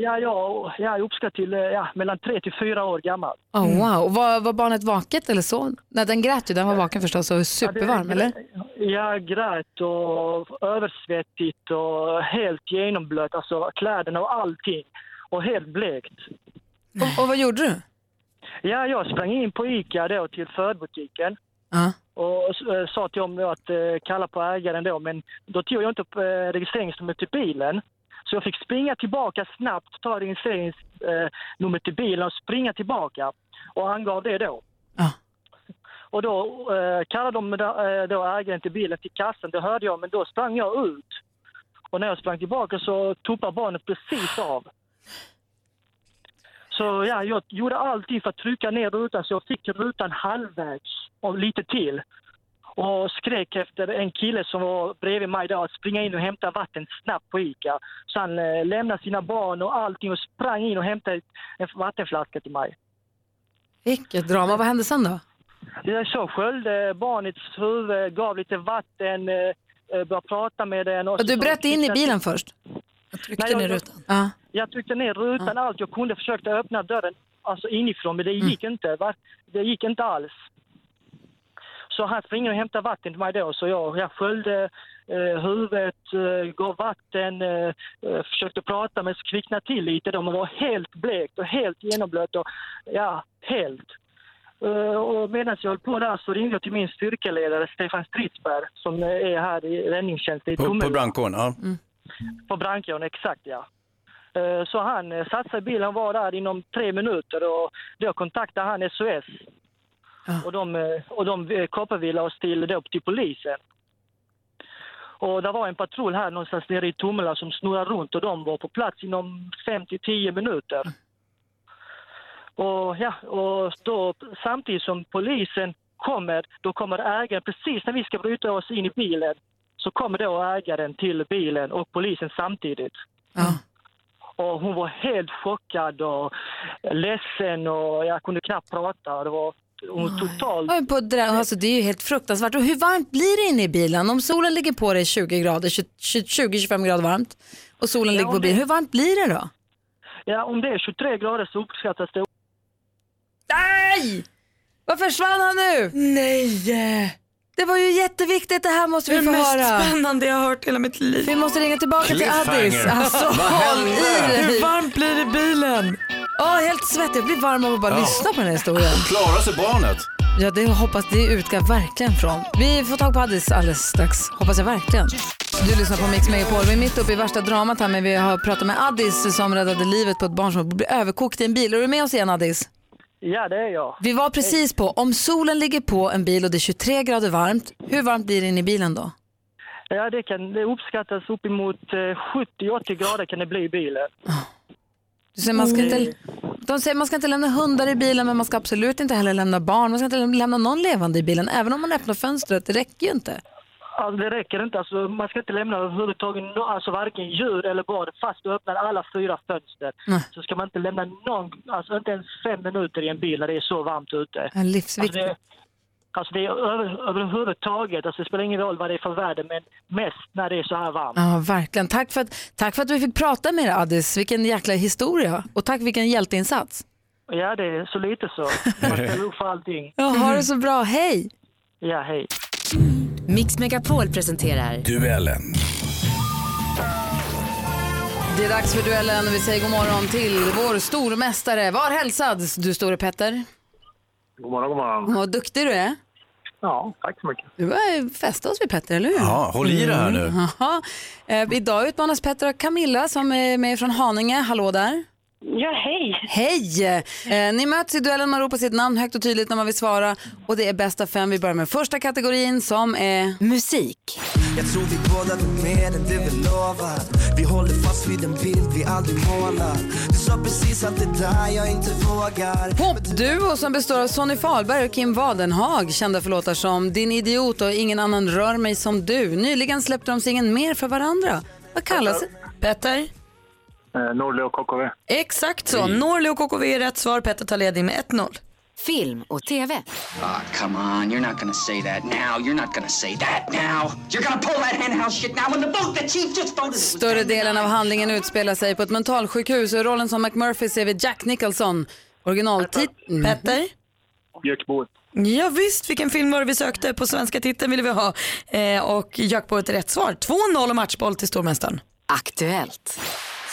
[SPEAKER 6] ja, jag, jag är uppskattad till eh, ja, mellan tre till fyra år gammal.
[SPEAKER 1] Oh, wow. Och var, var barnet vaket eller så? Nej, den grät ju, den var vaken förstås och supervarm, eller?
[SPEAKER 6] Jag grät och översvettigt och helt genomblött, alltså kläderna och allting. Och helt blekt.
[SPEAKER 1] Och, och vad gjorde du?
[SPEAKER 6] Ja, jag sprang in på ICA då till födbutiken
[SPEAKER 1] Ja.
[SPEAKER 6] och s- eh, sa till dem då att eh, kalla på ägaren då, men då tog jag inte upp eh, registreringsnumret till bilen. Så jag fick springa tillbaka snabbt, ta registreringsnumret eh, till bilen och springa tillbaka och angav det då.
[SPEAKER 1] Ja.
[SPEAKER 6] Och då eh, kallade de eh, då ägaren till bilen till kassan, det hörde jag, men då sprang jag ut. Och när jag sprang tillbaka så tuppade barnet precis av. Så ja, jag gjorde allting för att trycka ner rutan så jag fick rutan halvvägs och lite till. Och skrek efter en kille som var bredvid mig då att springa in och hämta vatten snabbt på ICA. Så han eh, lämnade sina barn och allting och sprang in och hämtade en vattenflaska till mig.
[SPEAKER 1] Vilket drama. Vad hände sen då?
[SPEAKER 6] Jag så sköljde barnets huvud, gav lite vatten, eh, eh, började prata med den. Och
[SPEAKER 1] Och du
[SPEAKER 6] så-
[SPEAKER 1] bröt in i bilen först?
[SPEAKER 3] Jag tryckte
[SPEAKER 6] Nej, jag-
[SPEAKER 3] ner rutan.
[SPEAKER 1] Ja.
[SPEAKER 6] Jag tryckte ner rutan allt jag kunde, försökte öppna dörren alltså inifrån, men det gick inte. Va? Det gick inte alls. Så han springer och hämtar vatten till mig då, så jag, jag sköljde eh, huvudet, eh, gav vatten, eh, eh, försökte prata men kvicknade till lite. De var helt blekt och helt genomblött och ja, helt. Eh, och medan jag höll på där så ringde jag till min styrkeledare Stefan Stridsberg som eh, är här i räddningstjänsten i
[SPEAKER 2] På, på
[SPEAKER 6] Tomelilla.
[SPEAKER 2] brandkåren, ja.
[SPEAKER 6] På Brankån, exakt ja. Eh, Så han eh, satte sig i bilen, han var där inom tre minuter och då kontaktade han SOS.
[SPEAKER 1] Ja.
[SPEAKER 6] Och de, eh, och de eh, kopplade oss till, då, till polisen. Och det var en patrull här någonstans nere i Tomela som snurrade runt och de var på plats inom 5-10 minuter. Och, ja, och då, samtidigt som polisen kommer, då kommer ägaren, precis när vi ska bryta oss in i bilen, så kommer då ägaren till bilen och polisen samtidigt.
[SPEAKER 3] Mm.
[SPEAKER 1] Ja.
[SPEAKER 6] Och hon var helt chockad och ledsen och jag kunde knappt prata. Det var hon totalt...
[SPEAKER 1] Oj, på drä- alltså, det är ju helt fruktansvärt. Och hur varmt blir det inne i bilen? Om solen ligger på dig 20 grader, 20-25 grader varmt och solen ligger på
[SPEAKER 6] om det-
[SPEAKER 1] bilen, hur varmt blir det då?
[SPEAKER 6] Ja, om det är 23 grader så uppskattas det.
[SPEAKER 1] Nej! Vad försvann han nu?
[SPEAKER 3] Nej!
[SPEAKER 1] Det var ju jätteviktigt, det här måste
[SPEAKER 3] Det är
[SPEAKER 1] vi
[SPEAKER 3] det
[SPEAKER 1] få
[SPEAKER 3] mest
[SPEAKER 1] höra.
[SPEAKER 3] spännande jag har hört i hela mitt liv.
[SPEAKER 1] Vi måste ringa tillbaka till Addis.
[SPEAKER 2] Cliffhanger.
[SPEAKER 1] Alltså, håll i
[SPEAKER 3] Hur
[SPEAKER 1] dig.
[SPEAKER 3] varmt blir det i bilen?
[SPEAKER 1] Åh, helt svettig, jag blir varm av att bara lyssna på den här historien.
[SPEAKER 2] Klara sig barnet.
[SPEAKER 1] Ja, det hoppas det utgår verkligen från. Vi får tag på Addis alldeles strax, hoppas jag verkligen. Du lyssnar på Mix Megapol. Vi är mitt uppe i värsta dramat här, men vi har pratat med Addis som räddade livet på ett barn som blev överkokt i en bil. Är du med oss igen Addis?
[SPEAKER 6] Ja, det är jag.
[SPEAKER 1] Vi var precis på, om solen ligger på en bil och det är 23 grader varmt, hur varmt blir det inne i bilen då?
[SPEAKER 6] Ja, det, kan, det uppskattas uppemot eh, 70-80 grader kan det bli i bilen.
[SPEAKER 1] Du säger, man ska inte, de säger man ska inte lämna hundar i bilen men man ska absolut inte heller lämna barn. Man ska inte lämna någon levande i bilen. Även om man öppnar fönstret, det räcker ju inte.
[SPEAKER 6] Alltså, det räcker inte. Alltså, man ska inte lämna överhuvudtaget no- alltså, varken djur eller barn. Fast du öppnar alla fyra fönster
[SPEAKER 1] Nej.
[SPEAKER 6] så ska man inte lämna någon, alltså, inte ens fem minuter i en bil när det är så varmt ute.
[SPEAKER 1] Det är livsviktigt.
[SPEAKER 6] Alltså det, alltså det är över, överhuvudtaget, alltså det spelar ingen roll vad det är för väder, men mest när det är så här varmt.
[SPEAKER 1] Ja, verkligen. Tack för, att, tack för att vi fick prata med dig Addis. Vilken jäkla historia. Och tack vilken hjälteinsats.
[SPEAKER 6] Ja, det är så lite så. Man ställer upp för allting.
[SPEAKER 1] Ja, ha det så bra. Hej!
[SPEAKER 6] Ja, hej.
[SPEAKER 7] Mix Megapol presenterar
[SPEAKER 2] Duellen.
[SPEAKER 1] Det är dags för duellen och vi säger god morgon till vår stormästare. Var hälsad du store Petter.
[SPEAKER 8] God morgon, god morgon.
[SPEAKER 1] Vad duktig du är.
[SPEAKER 8] Ja, tack så mycket.
[SPEAKER 1] Du börjar fästa oss vid Petter, eller hur? Mm.
[SPEAKER 2] Ja, håll i det här nu.
[SPEAKER 1] Jaha. Eh, idag utmanas Petter av Camilla som är med från Haninge. Hallå där.
[SPEAKER 9] Ja, hej.
[SPEAKER 1] Hej! Eh, ni möts i duellen, man ropar sitt namn högt och tydligt när man vill svara. Och det är bästa fem. Vi börjar med första kategorin som är...
[SPEAKER 7] musik.
[SPEAKER 10] Jag tror vi båda vill mer än det vi lovat Vi håller fast vid en bild vi aldrig målat Du sa precis allt det där jag inte vågar
[SPEAKER 1] Popduo som består av Sonny Fahlberg och Kim Wadenhag, kända för låtar som Din idiot och Ingen annan rör mig som du. Nyligen släppte de singeln Mer för varandra. Vad kallas
[SPEAKER 3] Petter?
[SPEAKER 8] Eh, Norli och KKV.
[SPEAKER 1] Mm.
[SPEAKER 3] Exakt så. Norli och KKV är rätt svar. Petter tar ledning med 1-0.
[SPEAKER 7] Film och TV.
[SPEAKER 9] Ah, come on. You're not gonna say that now. You're not gonna say that now. You're gonna pull that henhouse shit now. When the vote the chief just voted, it was
[SPEAKER 1] Större delen av handlingen utspelar sig på ett mentalsjukhus och rollen som McMurphy ser vi Jack Nicholson. Originaltiteln... Mm.
[SPEAKER 3] Petter?
[SPEAKER 8] Gökboet.
[SPEAKER 3] Ja, visst, vilken film var det vi sökte? På svenska titeln ville vi ha. Eh, och Jack på ett rätt svar. 2-0 och matchboll till stormästaren.
[SPEAKER 7] Aktuellt.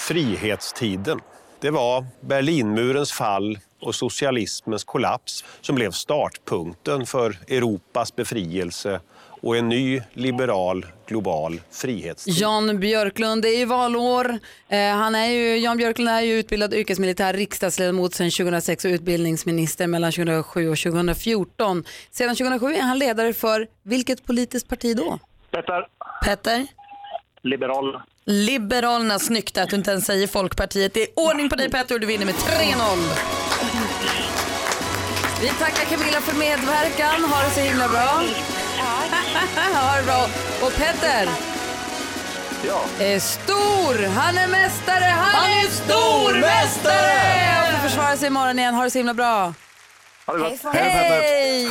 [SPEAKER 11] Frihetstiden. Det var Berlinmurens fall och socialismens kollaps som blev startpunkten för Europas befrielse och en ny liberal global frihetstid.
[SPEAKER 1] Jan Björklund, det är ju valår. Eh, han är ju, Jan Björklund är ju utbildad yrkesmilitär riksdagsledamot sedan 2006 och utbildningsminister mellan 2007 och 2014. Sedan 2007 är han ledare för vilket politiskt parti då?
[SPEAKER 8] Petter.
[SPEAKER 3] Petter?
[SPEAKER 8] Liberal.
[SPEAKER 3] Liberalerna, snyggt att du inte ens säger Folkpartiet. Det är ordning på dig Petter och du vinner med 3-0.
[SPEAKER 1] Vi tackar Camilla för medverkan. Ha det så himla bra. ha det bra. Och Petter är stor. Han är mästare. Han,
[SPEAKER 10] Han är
[SPEAKER 1] är stormästare! Han får försvara sig imorgon igen. Ha det så himla bra.
[SPEAKER 8] Ha det gott.
[SPEAKER 1] Hej!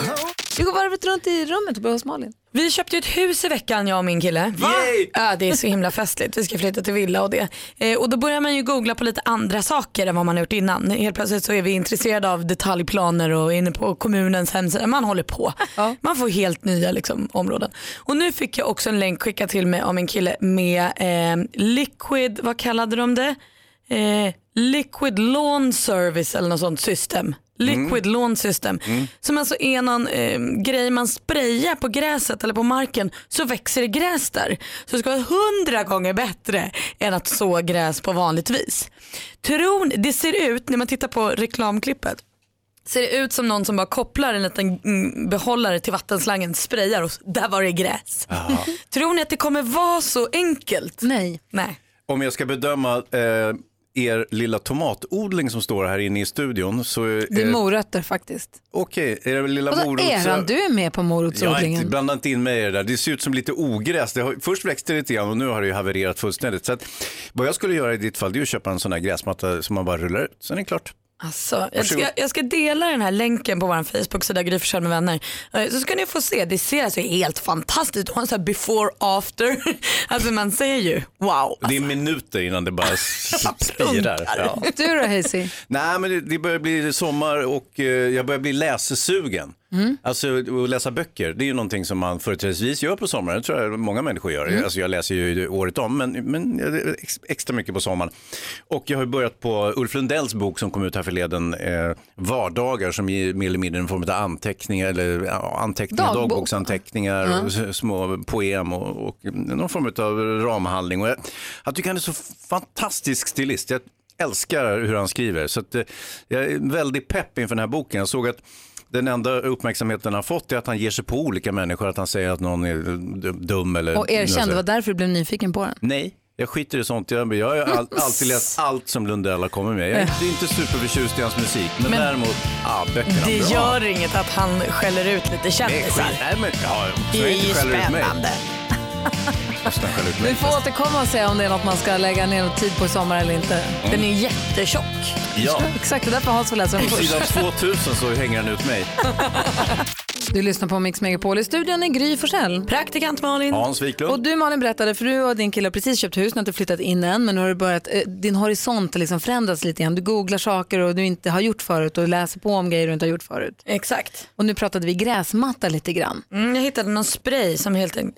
[SPEAKER 1] Vi går varvet runt i rummet och börjar hos Malin.
[SPEAKER 3] Vi köpte ju ett hus i veckan jag och min kille. Va? Ja, det är så himla festligt. Vi ska flytta till villa och det. Eh, och då börjar man ju googla på lite andra saker än vad man har gjort innan. Helt plötsligt så är vi intresserade av detaljplaner och inne på kommunens hemsida. Man håller på. Man får helt nya liksom, områden. Och nu fick jag också en länk skickad till mig av min kille med eh, liquid, vad kallade de det? Eh, liquid lawn service eller något sånt system. Liquid lawn system. Som alltså är någon eh, grej man sprayar på gräset eller på marken så växer det gräs där. Så det ska vara hundra gånger bättre än att så gräs på vanligt vis. Tror ni, det ser ut när man tittar på reklamklippet ser det ut som någon som bara kopplar en liten mm, behållare till vattenslangen, sprayar och s- där var det gräs. Tror ni att det kommer vara så enkelt?
[SPEAKER 1] Nej.
[SPEAKER 3] Nej.
[SPEAKER 2] Om jag ska bedöma eh, er lilla tomatodling som står här inne i studion så... Eh,
[SPEAKER 1] Det är morötter faktiskt.
[SPEAKER 2] Okej, är det väl lilla
[SPEAKER 1] Vadå
[SPEAKER 2] morots...
[SPEAKER 1] eran? Du är med på
[SPEAKER 2] Jag är inte,
[SPEAKER 1] morotsodlingen.
[SPEAKER 2] blanda inte in mig i det där. Det ser ut som lite ogräs. Det har, först växte det lite grann och nu har det ju havererat fullständigt. Så att, vad jag skulle göra i ditt fall det är att köpa en sån här gräsmatta som man bara rullar ut. Sen är det klart.
[SPEAKER 3] Alltså, jag, ska,
[SPEAKER 2] Varsågod.
[SPEAKER 3] jag ska dela den här länken på vår Facebook-sida Gry Forssell med vänner. Eh, Så ska ni få se, det ser alltså helt fantastiskt ut. Hon har en sån här before after. Alltså man ser ju wow.
[SPEAKER 2] Det är minuter innan det bara s- spirar. Ja.
[SPEAKER 1] Du då Hazy?
[SPEAKER 2] Nej, men det, det börjar bli sommar och eh, jag börjar bli läsesugen. Alltså att läsa böcker, det är ju någonting som man företrädesvis gör på sommaren. Det tror jag många människor gör. Alltså jag läser ju året om, men, men jag- ex, extra mycket på sommaren. Och jag har ju börjat på Ulf Lundells bok som kom ut här förleden, eh, Vardagar, som är mer eller mindre en form av anteckningar, eller ja, anteckningar,
[SPEAKER 1] Dagbok.
[SPEAKER 2] dagboksanteckningar, och s- små poem och, och någon form av ramhandling. Och jag, jag tycker han är så fantastisk stilist. Jag, älskar hur han skriver. Så att, eh, jag är väldigt pepp inför den här boken. Jag såg att den enda uppmärksamheten han har fått är att han ger sig på olika människor, att han säger att någon är d- dum eller...
[SPEAKER 1] Och erkänn, det var
[SPEAKER 2] något sånt.
[SPEAKER 1] därför du blev nyfiken på den.
[SPEAKER 2] Nej, jag skiter i sånt. Jag, jag har ju all, alltid läst allt som Lundell har kommit med. Jag är inte- inte superförtjust i hans musik, men,
[SPEAKER 1] Men-
[SPEAKER 2] däremot, ah, böckerna är bra.
[SPEAKER 3] Det gör inget att han skäller ut lite
[SPEAKER 2] Nej,
[SPEAKER 3] kändisar.
[SPEAKER 2] skit- Nej, men, ja,
[SPEAKER 3] Det
[SPEAKER 2] så jag
[SPEAKER 3] är
[SPEAKER 2] inte
[SPEAKER 3] ju
[SPEAKER 2] skäller ut mig.
[SPEAKER 3] spännande.
[SPEAKER 2] Så jag skäller ut mig.
[SPEAKER 1] Vi får återkomma och se om det är något man ska lägga ner någon tid på i sommar eller inte.
[SPEAKER 3] Mm. Den är jättetjock. Mm.
[SPEAKER 2] Ja,
[SPEAKER 1] Exakt, det är därför Hans får läsa den
[SPEAKER 2] på
[SPEAKER 1] först.
[SPEAKER 2] sidan 2000 så hänger han ut mig.
[SPEAKER 1] Du lyssnar på Mix Megapol. I studion är Gry Forssell.
[SPEAKER 3] Praktikant Malin.
[SPEAKER 2] Hans Wiklund.
[SPEAKER 1] Och du Malin berättade, för du och din kille har precis köpt hus, ni har inte flyttat in än, men nu har du börjat, eh, din horisont har liksom förändras lite grann. Du googlar saker och du inte har gjort förut och läser på om grejer du inte har gjort förut.
[SPEAKER 3] Exakt.
[SPEAKER 1] Och nu pratade vi gräsmatta lite grann.
[SPEAKER 3] Mm, jag hittade någon spray som helt enkelt,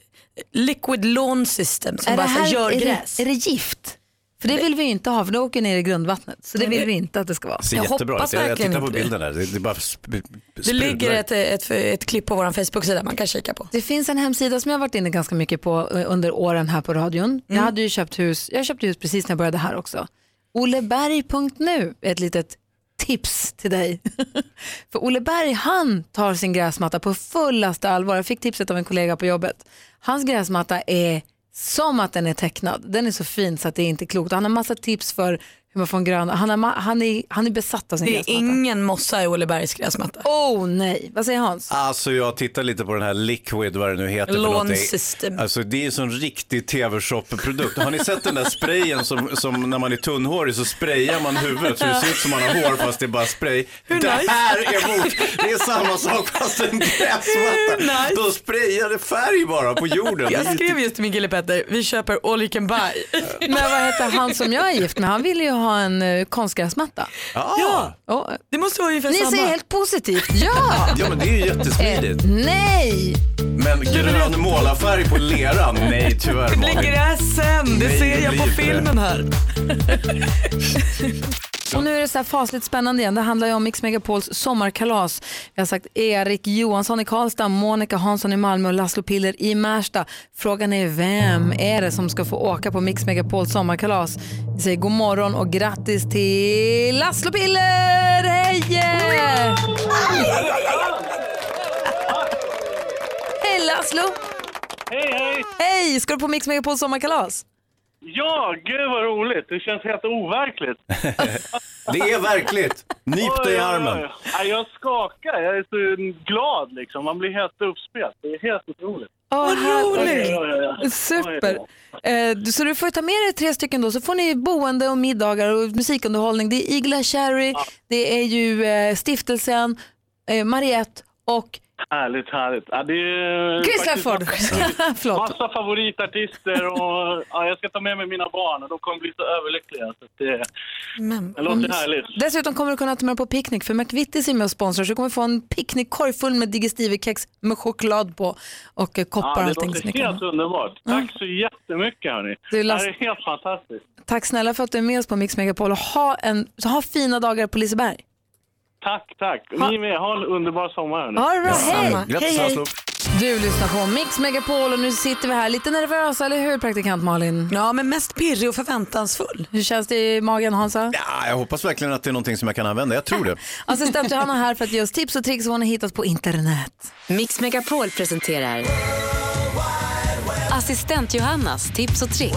[SPEAKER 3] liquid lawn system som bara så här gör
[SPEAKER 1] är,
[SPEAKER 3] gräs.
[SPEAKER 1] det, är det gift? För det vill vi ju inte ha, för det åker ner i grundvattnet. Så det vill vi inte att det ska vara.
[SPEAKER 2] ser
[SPEAKER 3] jag
[SPEAKER 2] jättebra ut.
[SPEAKER 3] hoppas
[SPEAKER 2] Jag, jag
[SPEAKER 3] verkligen
[SPEAKER 2] tittar på
[SPEAKER 3] inte det.
[SPEAKER 2] bilden där. Det, det bara sp-
[SPEAKER 3] Det
[SPEAKER 2] sprudlar.
[SPEAKER 3] ligger ett, ett, ett klipp på vår Facebook-sida man kan kika på.
[SPEAKER 1] Det finns en hemsida som jag har varit inne ganska mycket på eh, under åren här på radion. Jag
[SPEAKER 3] Mm.
[SPEAKER 1] hade ju köpt hus, jag köpte hus precis när jag började här också. Oleberg.nu är ett litet tips till dig. För Ole Berg, han tar sin gräsmatta på fullaste allvar. Jag fick tipset av en kollega på jobbet. Hans gräsmatta är som att den är tecknad. Den är så fin så att det är inte klokt. Han har massa tips för Emma von Grön. Han är, ma- han är, han är besatt av sin
[SPEAKER 3] Det är
[SPEAKER 1] gräsmatta.
[SPEAKER 3] ingen mossa i Ålebergs gräsmatta.
[SPEAKER 1] Åh oh, nej, vad säger Hans?
[SPEAKER 2] Alltså jag tittar lite på den här Liquid, vad det nu heter. för
[SPEAKER 3] Lawn
[SPEAKER 2] någonting.
[SPEAKER 3] system.
[SPEAKER 2] Alltså det är ju sån riktig tv-shop-produkt. Har ni sett den där sprayen som, som när man är tunnhårig så sprayar man huvudet så det ser ut som man har hår fast det är bara spray. det
[SPEAKER 10] nice.
[SPEAKER 2] här är mot, det är samma sak fast en gräsmatta.
[SPEAKER 3] Hur nice.
[SPEAKER 2] De sprayar det färg bara på jorden.
[SPEAKER 3] Jag skrev just till min kille Petter, vi köper all you can buy.
[SPEAKER 1] Men vad heter han som jag är gift med? Han ville ju ha en uh, konstgräsmatta. eh,
[SPEAKER 2] Ja.
[SPEAKER 3] Det måste vara ungefär
[SPEAKER 1] Ni
[SPEAKER 3] samma.
[SPEAKER 1] ser helt positivt, ja!
[SPEAKER 2] Ja men det är ju jättesmidigt.
[SPEAKER 1] Eh, nej!
[SPEAKER 2] Men grön målarfärg på leran, nej tyvärr
[SPEAKER 3] Det blir
[SPEAKER 2] Malin.
[SPEAKER 3] gräs sen, det
[SPEAKER 2] Nej,
[SPEAKER 3] ser
[SPEAKER 2] det
[SPEAKER 3] jag på
[SPEAKER 2] blir det.
[SPEAKER 3] filmen här.
[SPEAKER 1] Och nu är det så här fasligt spännande igen. Det handlar ju om Mix Megapols sommarkalas. Vi har sagt Erik Johansson i Karlstad, Monica Hansson i Malmö och Laszlo Piller i Märsta. Frågan är vem är det som ska få åka på Mix Megapols sommarkalas? Vi säger god morgon och grattis till Laszlo Piller! Hej! Hej Laszlo!
[SPEAKER 12] Hej, hej!
[SPEAKER 1] Hej! Ska du på Mix Megapols sommarkalas?
[SPEAKER 12] Ja, gud vad roligt. Det känns helt overkligt.
[SPEAKER 2] Det är verkligt. Nyp dig i armen.
[SPEAKER 12] Ja, jag skakar. Jag är så glad liksom. Man blir helt uppspelt. Det är helt otroligt.
[SPEAKER 1] Åh,
[SPEAKER 12] Oj, oj, oj, oj.
[SPEAKER 1] härligt. Super. Eh, du- så du får ta med dig tre stycken då, så får ni boende och middagar och musikunderhållning. Det är Igla Cherry, det är ju eh, stiftelsen, eh, Mariette och
[SPEAKER 12] Härligt, härligt. Ja, det är
[SPEAKER 1] Chris
[SPEAKER 12] faktiskt
[SPEAKER 1] Lefford. Förlåt.
[SPEAKER 12] Massa favoritartister och ja, jag ska ta med mig mina barn och de kommer bli så överlyckliga. Så att det, det låter härligt.
[SPEAKER 1] Mm. Dessutom kommer du kunna ta med dig på picknick för McVittys är med och sponsrar så du kommer få en picknickkorg full med digestivekex med choklad på och eh, koppar och
[SPEAKER 12] det
[SPEAKER 1] allting. som ni
[SPEAKER 12] låter
[SPEAKER 1] kan
[SPEAKER 12] helt
[SPEAKER 1] ha.
[SPEAKER 12] underbart. Tack så jättemycket hörni.
[SPEAKER 1] Du, Lasse-
[SPEAKER 12] Det här är helt fantastiskt.
[SPEAKER 1] Tack snälla för att du är med oss på Mix Megapol och ha, en, så ha fina dagar på Liseberg.
[SPEAKER 12] Tack, tack. Ni med. Ha en underbar sommar. hörni.
[SPEAKER 1] All right, hej.
[SPEAKER 12] Grattis, Laszlo.
[SPEAKER 1] Du lyssnar på Mix Megapol och nu sitter vi här lite nervösa, eller hur praktikant Malin?
[SPEAKER 3] Ja, men mest pirrig och förväntansfull.
[SPEAKER 1] Hur känns det i magen Hansa?
[SPEAKER 2] Ja, jag hoppas verkligen att det är någonting som jag kan använda. Jag tror det.
[SPEAKER 1] Assistent Johanna här för att ge oss tips och tricks och hon har hittat på internet.
[SPEAKER 7] Mix Megapol presenterar Assistent Johannas tips och tricks.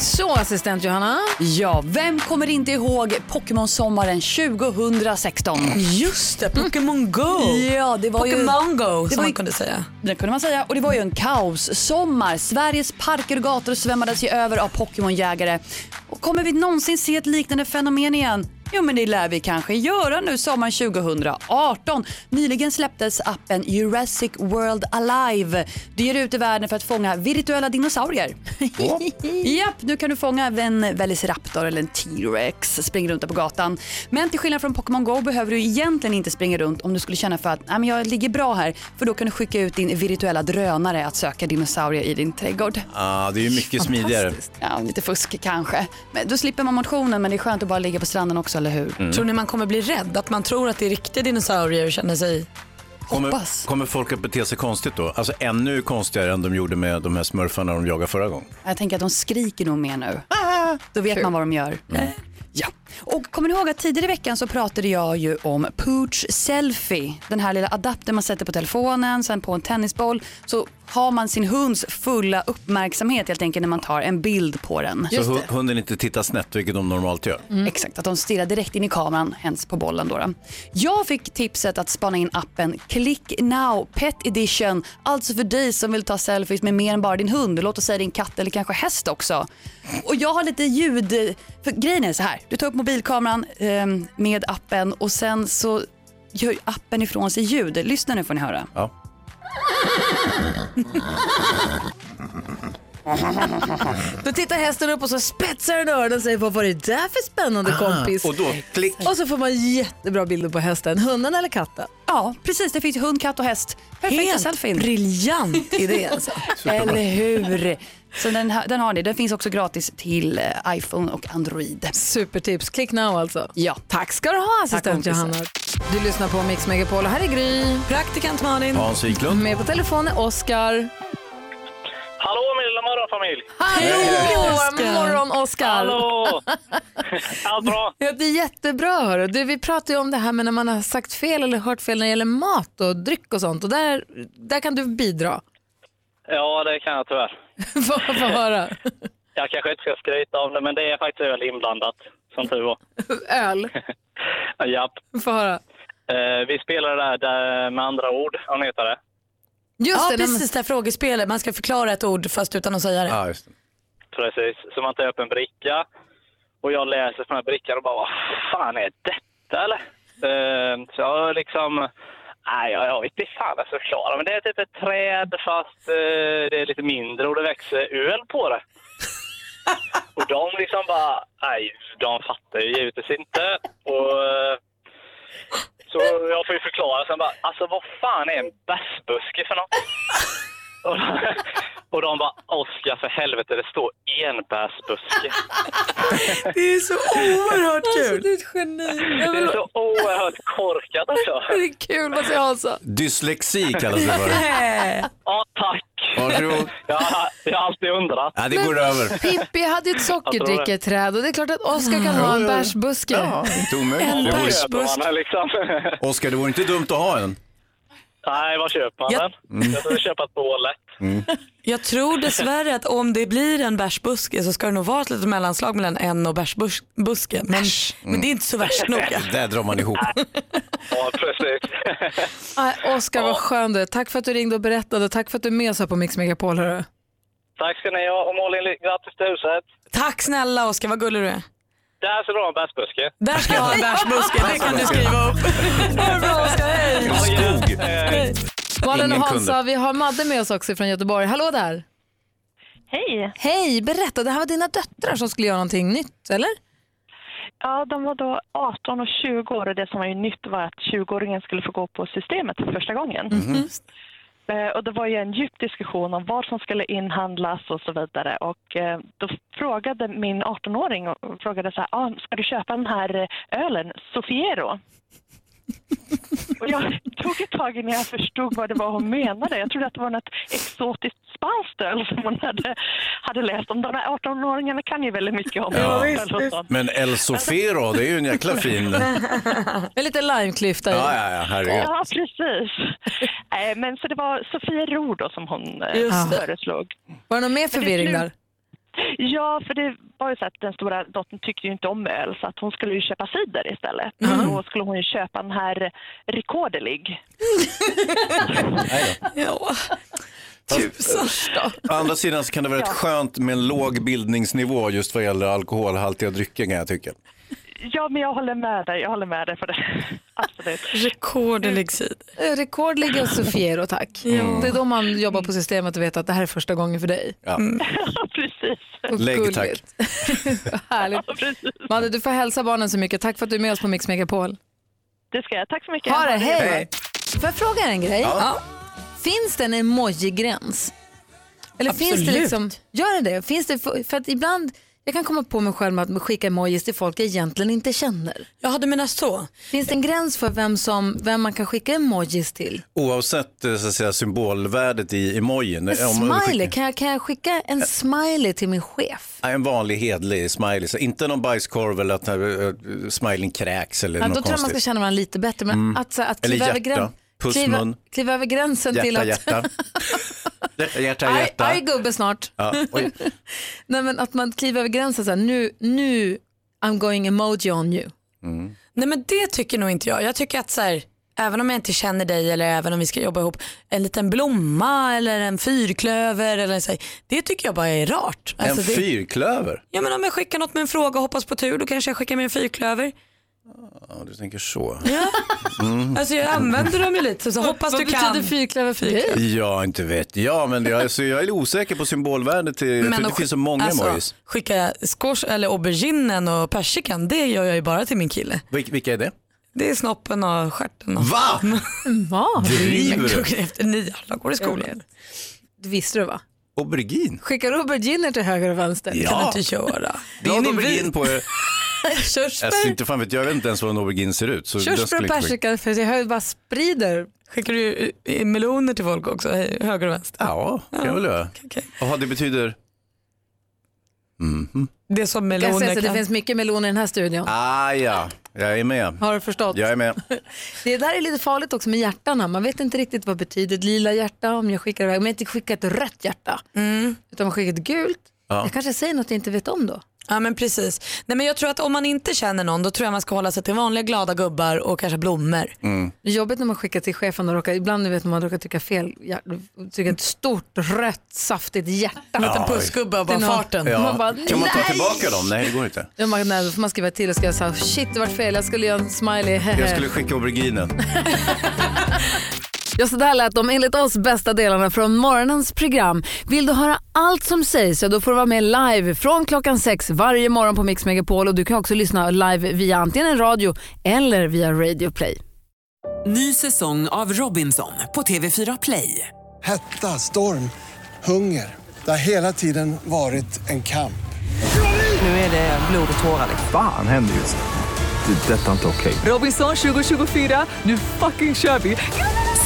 [SPEAKER 1] Så assistent Johanna.
[SPEAKER 13] Ja, vem kommer inte ihåg Pokémon-sommaren 2016?
[SPEAKER 3] Just det, Pokémon Go.
[SPEAKER 13] Ja, det var ju...
[SPEAKER 3] Pokémon Go,
[SPEAKER 13] det
[SPEAKER 3] som
[SPEAKER 13] var
[SPEAKER 3] man
[SPEAKER 13] ju-
[SPEAKER 3] kunde säga.
[SPEAKER 13] Det kunde man säga. Och det var ju en kaossommar. Sveriges parker och gator svämmades ju över av Pokémonjägare. Och kommer vi någonsin se ett liknande fenomen igen? Jo, men det lär vi kanske göra nu sommaren 2018. Nyligen släpptes appen Jurassic World Alive. Du ger dig ut i världen för att fånga virtuella dinosaurier. Japp, nu kan du fånga en Velociraptor eller en T-Rex. Spring runt där på gatan. Men till skillnad från Pokémon Go behöver du egentligen inte springa runt om du skulle känna för att "Nej, men jag ligger bra här. För då kan du skicka ut din virtuella drönare att söka dinosaurier i din trädgård.
[SPEAKER 2] Ah, det är ju mycket smidigare.
[SPEAKER 13] Ja, lite fusk kanske. Men då slipper man motionen men det är skönt att bara ligga på stranden också, eller hur?
[SPEAKER 2] Mm. Tror
[SPEAKER 3] ni man kommer bli rädd? Att man tror att det är riktiga dinosaurier och känner sig...
[SPEAKER 2] Kommer, kommer folk att bete sig konstigt då? Alltså ännu konstigare än de gjorde med de här smurfarna de jagade förra gången.
[SPEAKER 13] Jag tänker att de skriker nog mer nu. Då vet man vad de gör. Ja. Och kommer ni ihåg att tidigare i veckan så pratade jag ju om Pooch Selfie. Den här lilla adaptern man sätter på telefonen, sen på en tennisboll. Så har man sin hunds fulla uppmärksamhet helt enkelt när man tar en bild på den.
[SPEAKER 2] Så hu- hunden inte tittar snett, vilket de normalt gör.
[SPEAKER 13] Mm. Exakt, att de stirrar direkt in i kameran, hens på bollen. Då då. Jag fick tipset att spana in appen Click Now Pet Edition. Alltså för dig som vill ta selfies med mer än bara din hund. Låt oss säga din katt eller kanske häst också. Och jag har lite ljud... För grejen är så här, du tar upp mobilkameran ehm, med appen och sen så gör appen ifrån sig ljud. Lyssna nu får ni höra.
[SPEAKER 2] Ja.
[SPEAKER 1] Då tittar hästen upp och så spetsar den öronen och säger vad var det där för spännande kompis?
[SPEAKER 2] och då klick.
[SPEAKER 1] Och så får man jättebra bilder på hästen, hunden eller katten.
[SPEAKER 13] Ja, precis. Det finns hund, katt och häst. Perfekta
[SPEAKER 1] Helt
[SPEAKER 13] selfien.
[SPEAKER 1] briljant idé, alltså.
[SPEAKER 13] Eller hur? Så den, här- den har ni. Den finns också gratis till eh, iPhone och Android.
[SPEAKER 1] Supertips. Klick now alltså.
[SPEAKER 13] Ja.
[SPEAKER 1] Tack ska du ha assistent
[SPEAKER 13] kompisar.
[SPEAKER 1] Johanna. Du lyssnar på Mix Megapol och här är Gry.
[SPEAKER 3] Praktikant Malin.
[SPEAKER 2] Hans Wiklund.
[SPEAKER 1] Med på telefon är Oskar.
[SPEAKER 12] Hallå min lilla morgonfamilj!
[SPEAKER 1] Hallå! Morgon Oskar.
[SPEAKER 12] Hallå! Allt bra?
[SPEAKER 1] Ja, det är jättebra. Hörru. Du, vi pratade ju om det här med när man har sagt fel eller hört fel när det gäller mat och dryck och sånt. Och där, där kan du bidra.
[SPEAKER 12] Ja, det kan jag tyvärr.
[SPEAKER 1] Få få höra.
[SPEAKER 14] Jag kanske inte ska skryta om det, men det är faktiskt öl inblandat, som tur var.
[SPEAKER 1] Öl.
[SPEAKER 14] Japp.
[SPEAKER 1] Få höra.
[SPEAKER 14] Eh, vi spelar det här där med andra ord, om ni heter det.
[SPEAKER 3] ja, precis det här frågespelet. Man ska förklara ett ord fast utan att säga det.
[SPEAKER 2] Ja, just
[SPEAKER 14] Precis, så man tar upp en bricka och jag läser på den här brickan och bara vad fan är detta eller? Eh, så jag liksom, nej jag, jag vet inte fan vad jag ska förklara men det är typ ett träd fast eh, det är lite mindre och det växer öl på det. och de liksom bara, nej de fattar ju givetvis inte. Och, eh, så jag får ju förklara sen bara, alltså vad fan är en bärsbuske för något? Och de- Och de bara, Oskar för helvete det står enbärsbuske.
[SPEAKER 3] Det är så oerhört kul.
[SPEAKER 1] Alltså, du är ett geni.
[SPEAKER 14] Det
[SPEAKER 1] Jag vill...
[SPEAKER 14] är så oerhört korkat alltså.
[SPEAKER 1] Det är kul vad säger Hansa?
[SPEAKER 2] Dyslexi kallas det för.
[SPEAKER 14] Ja, tack.
[SPEAKER 2] Varsågod.
[SPEAKER 14] Jag, har- jag har alltid undrat.
[SPEAKER 2] Ja, det går över. Mm.
[SPEAKER 1] Pippi hade ju ett
[SPEAKER 14] Alltså,
[SPEAKER 1] sockerdricketräd och det är klart att Oskar kan ha en bärsbuske.
[SPEAKER 2] Inte omöjligt.
[SPEAKER 1] En
[SPEAKER 2] Det vore-
[SPEAKER 14] Köparna, liksom.
[SPEAKER 2] Oskar, det vore inte dumt att ha en.
[SPEAKER 14] Nej, vad köper man den? Jag skulle köpa ett bålet.
[SPEAKER 3] Jag tror dessvärre att om det blir en bärsbuske så ska det nog vara ett litet mellanslag mellan en och bärsbuske. Men, men det är inte så värst
[SPEAKER 1] Mm.
[SPEAKER 3] noga.
[SPEAKER 2] Där drar man ihop.
[SPEAKER 14] Ja, precis.
[SPEAKER 1] Nej, Oskar, vad skön du är. Tack för att du ringde och berättade. Tack för att du är med oss här på Mix Megapol. Hörru.
[SPEAKER 14] Tack ska ni ha och Malin, ly- grattis till huset.
[SPEAKER 3] Tack snälla Oskar, vad gullig du är.
[SPEAKER 14] Det här ska du ha en bärsbuske.
[SPEAKER 3] Där ska jag ha en bärsbuske, det kan du skriva upp. Ha det bra Oskar, hej!
[SPEAKER 2] Skog.
[SPEAKER 14] Hej.
[SPEAKER 1] Malin och
[SPEAKER 3] Ingen
[SPEAKER 1] Hansa,
[SPEAKER 3] kunde.
[SPEAKER 1] vi har Madde med oss också från Göteborg. Hallå där!
[SPEAKER 15] Hej!
[SPEAKER 1] Hej! Berätta, det här var dina döttrar som skulle göra någonting nytt, eller?
[SPEAKER 15] Ja, de var då 18 och 20 år och det som var ju nytt var att 20-åringen skulle få gå på systemet för första gången. Eh, Och det var ju en djup diskussion om vad som skulle inhandlas och så vidare. Och eh, då frågade min 18-åring och frågade så här, ah, ska du köpa den här eh, ölen, Sofiero? Och jag tog ett tag innan jag förstod vad det var hon menade. Jag trodde att det var något exotiskt spanskt öl som hon hade, hade läst om. De här 18-åringarna kan ju väldigt mycket om
[SPEAKER 2] Ja.
[SPEAKER 15] öl och sånt.
[SPEAKER 2] Men El Sofero, det är ju en jäkla fin... Ja,
[SPEAKER 1] En liten limeklyfta i.
[SPEAKER 2] ja, ja, herregud.
[SPEAKER 15] Ja, precis. Eh, Men så det var Sofiero då som hon eh,
[SPEAKER 1] Just det.
[SPEAKER 15] föreslog.
[SPEAKER 1] Var det någon mer
[SPEAKER 15] det
[SPEAKER 1] förvirring
[SPEAKER 15] slut-
[SPEAKER 1] där?
[SPEAKER 15] Ja, för det var ju så att den stora dottern tyckte ju inte om öl så att hon skulle ju köpa cider istället.
[SPEAKER 1] Mm.
[SPEAKER 15] Då skulle hon ju köpa den här Rikodelig.
[SPEAKER 3] ja.
[SPEAKER 14] alltså.
[SPEAKER 2] Tusen. Å andra sidan så kan det vara rätt
[SPEAKER 15] Ja.
[SPEAKER 2] skönt med en låg bildningsnivå just vad gäller alkoholhaltiga drycker kan jag tycka.
[SPEAKER 15] ja, men jag håller med dig. Jag håller med dig för det. Absolut.
[SPEAKER 3] Rekordelig sid.
[SPEAKER 1] Eh, Rekord ligger hos Sofiero, tack. Mm.
[SPEAKER 2] Ja.
[SPEAKER 1] Det är då man jobbar på systemet och vet att det här är första gången för dig.
[SPEAKER 2] Ja.
[SPEAKER 1] Och
[SPEAKER 2] Lägg tack.
[SPEAKER 1] gulligt. Härligt. Madde, du får hälsa barnen så mycket. Tack för att du är med oss på Mix Megapol.
[SPEAKER 15] Det ska jag. Tack så mycket.
[SPEAKER 1] Ha det, hej!
[SPEAKER 15] Hej.
[SPEAKER 1] Får jag fråga er en grej?
[SPEAKER 15] Ja.
[SPEAKER 1] Finns det en emoji-gräns? Eller finns det
[SPEAKER 13] Absolut.
[SPEAKER 1] liksom, gör det det? Finns det för, för att ibland, jag kan komma på mig själv med att skicka emojis till folk jag egentligen inte känner.
[SPEAKER 3] Ja, du menar så?
[SPEAKER 1] Finns det en gräns för vem, som, vem man kan skicka emojis till?
[SPEAKER 2] Oavsett eh, så att säga, symbolvärdet i
[SPEAKER 1] En
[SPEAKER 2] emojin. Om man skickar-
[SPEAKER 1] smiley, kan jag, kan jag skicka en smiley till min chef?
[SPEAKER 2] Nej, En vanlig hedlig smiley, så inte någon bajskorv eller att uh, smileyn kräks eller
[SPEAKER 1] Ja, då
[SPEAKER 2] något
[SPEAKER 1] tror jag man ska
[SPEAKER 2] konstigt.
[SPEAKER 1] känna varandra lite bättre. Men
[SPEAKER 2] Mm.
[SPEAKER 1] att, så, att
[SPEAKER 2] Eller
[SPEAKER 1] kliva över,
[SPEAKER 2] hjärta,
[SPEAKER 1] grän,
[SPEAKER 2] puss,
[SPEAKER 1] kliva,
[SPEAKER 2] mun.
[SPEAKER 1] kliva över gränsen till
[SPEAKER 2] hjärta,
[SPEAKER 1] att...
[SPEAKER 2] hjärta. hjärta, hjärta,
[SPEAKER 1] Aj,
[SPEAKER 2] hjärta.
[SPEAKER 1] aj gubbe snart.
[SPEAKER 2] Ja, oj.
[SPEAKER 1] Nej men att man kliver över gränsen så här, nu, nu I'm going emoji on you.
[SPEAKER 3] Nej men det tycker nog inte jag. Jag tycker att så här, även om jag inte känner dig eller även om vi ska jobba ihop, en liten blomma eller en fyrklöver eller så här, det tycker jag bara är rart.
[SPEAKER 2] En
[SPEAKER 3] Alltså, det,
[SPEAKER 2] fyrklöver?
[SPEAKER 3] Ja men om jag skickar något med en fråga och hoppas på tur då kanske jag skickar med en fyrklöver.
[SPEAKER 2] Ja, du tänker så.
[SPEAKER 3] Ja.
[SPEAKER 2] Mm.
[SPEAKER 3] Alltså jag använder dem ju lite så hoppas
[SPEAKER 1] Vad
[SPEAKER 3] du kan.
[SPEAKER 1] betyder fyrklöver för dig?
[SPEAKER 2] Ja, inte vet jag, men jag, alltså, jag är osäker på symbolvärdet. Till, jag tror det
[SPEAKER 3] att
[SPEAKER 2] finns så många
[SPEAKER 3] alltså,
[SPEAKER 2] emojis.
[SPEAKER 3] Skicka skors eller auberginen och persikan, det gör jag ju bara till min kille.
[SPEAKER 2] Vil- vilka är det?
[SPEAKER 3] Det är snoppen och stjärten. Och
[SPEAKER 2] Va?
[SPEAKER 1] Va?
[SPEAKER 2] Driver du?
[SPEAKER 3] Jag tog efter nio, alla går i skolan.
[SPEAKER 1] Det visste du va?
[SPEAKER 2] Aubergine?
[SPEAKER 1] Skickar auberginer till höger och vänster?
[SPEAKER 2] Ja. Kan du inte
[SPEAKER 3] göra.
[SPEAKER 2] Ah. Det är en aubergine på er. Alltså,
[SPEAKER 1] Körsbär,
[SPEAKER 2] inte fan vet, jag Jag vet inte ens vad en aubergine ser ut. Så den
[SPEAKER 1] körsbär
[SPEAKER 2] skulle
[SPEAKER 1] och
[SPEAKER 2] inte skicka.
[SPEAKER 1] persika för jag hör bara sprider.
[SPEAKER 3] Skickar du meloner till folk också, höger och vänster?
[SPEAKER 2] Ja, kan jag väl göra. Jaha, det betyder? Mhm.
[SPEAKER 3] Det är som
[SPEAKER 1] Jag
[SPEAKER 3] meloner
[SPEAKER 1] säger så,
[SPEAKER 3] kan...
[SPEAKER 1] det finns mycket meloner i den här studion.
[SPEAKER 2] Ah, ja, jag är med.
[SPEAKER 1] Har du förstått?
[SPEAKER 2] Jag är med.
[SPEAKER 1] Det där är lite farligt också med hjärtarna. Man vet inte riktigt vad betyder ett lila hjärta om jag skickar iväg. Om jag inte skickar ett rött hjärta utan man skickar ett gult.
[SPEAKER 3] Ja.
[SPEAKER 1] Jag kanske säger något jag inte vet om då.
[SPEAKER 3] Ja men precis. Nej, men jag tror att om man inte känner någon då tror jag man ska hålla sig till vanliga glada gubbar och kanske blommor.
[SPEAKER 2] Mm.
[SPEAKER 1] Det är jobbigt när man skickar till chefen och råkar, ibland vet man, man råkar trycka fel, hjär- trycka ett stort rött saftigt hjärta.
[SPEAKER 3] En liten
[SPEAKER 2] Ja,
[SPEAKER 3] pussgubbe av bara
[SPEAKER 1] Till någon.
[SPEAKER 3] farten.
[SPEAKER 2] Ja.
[SPEAKER 1] Man bara,
[SPEAKER 2] kan man ta
[SPEAKER 1] nej!
[SPEAKER 2] tillbaka dem? Nej, det går inte.
[SPEAKER 1] Ja, man, nej, då får man skriva till och skriva så här, shit det vart fel, jag skulle göra en smiley.
[SPEAKER 2] Jag skulle skicka auberginen.
[SPEAKER 1] Ja, så där lät de enligt oss bästa delarna från morgonens program. Vill du höra allt som sägs så då får du vara med live från klockan sex varje morgon på Mix Megapol och du kan också lyssna live via antingen en radio eller via Radio Play.
[SPEAKER 15] Ny säsong av Robinson på TV4 Play.
[SPEAKER 12] Hetta, storm, hunger. Det har hela tiden varit en kamp.
[SPEAKER 15] Nu är det blod och tårar.
[SPEAKER 16] Fan händer just nu. Det. är Detta är inte okej.
[SPEAKER 15] Robinson 2024, nu fucking kör vi!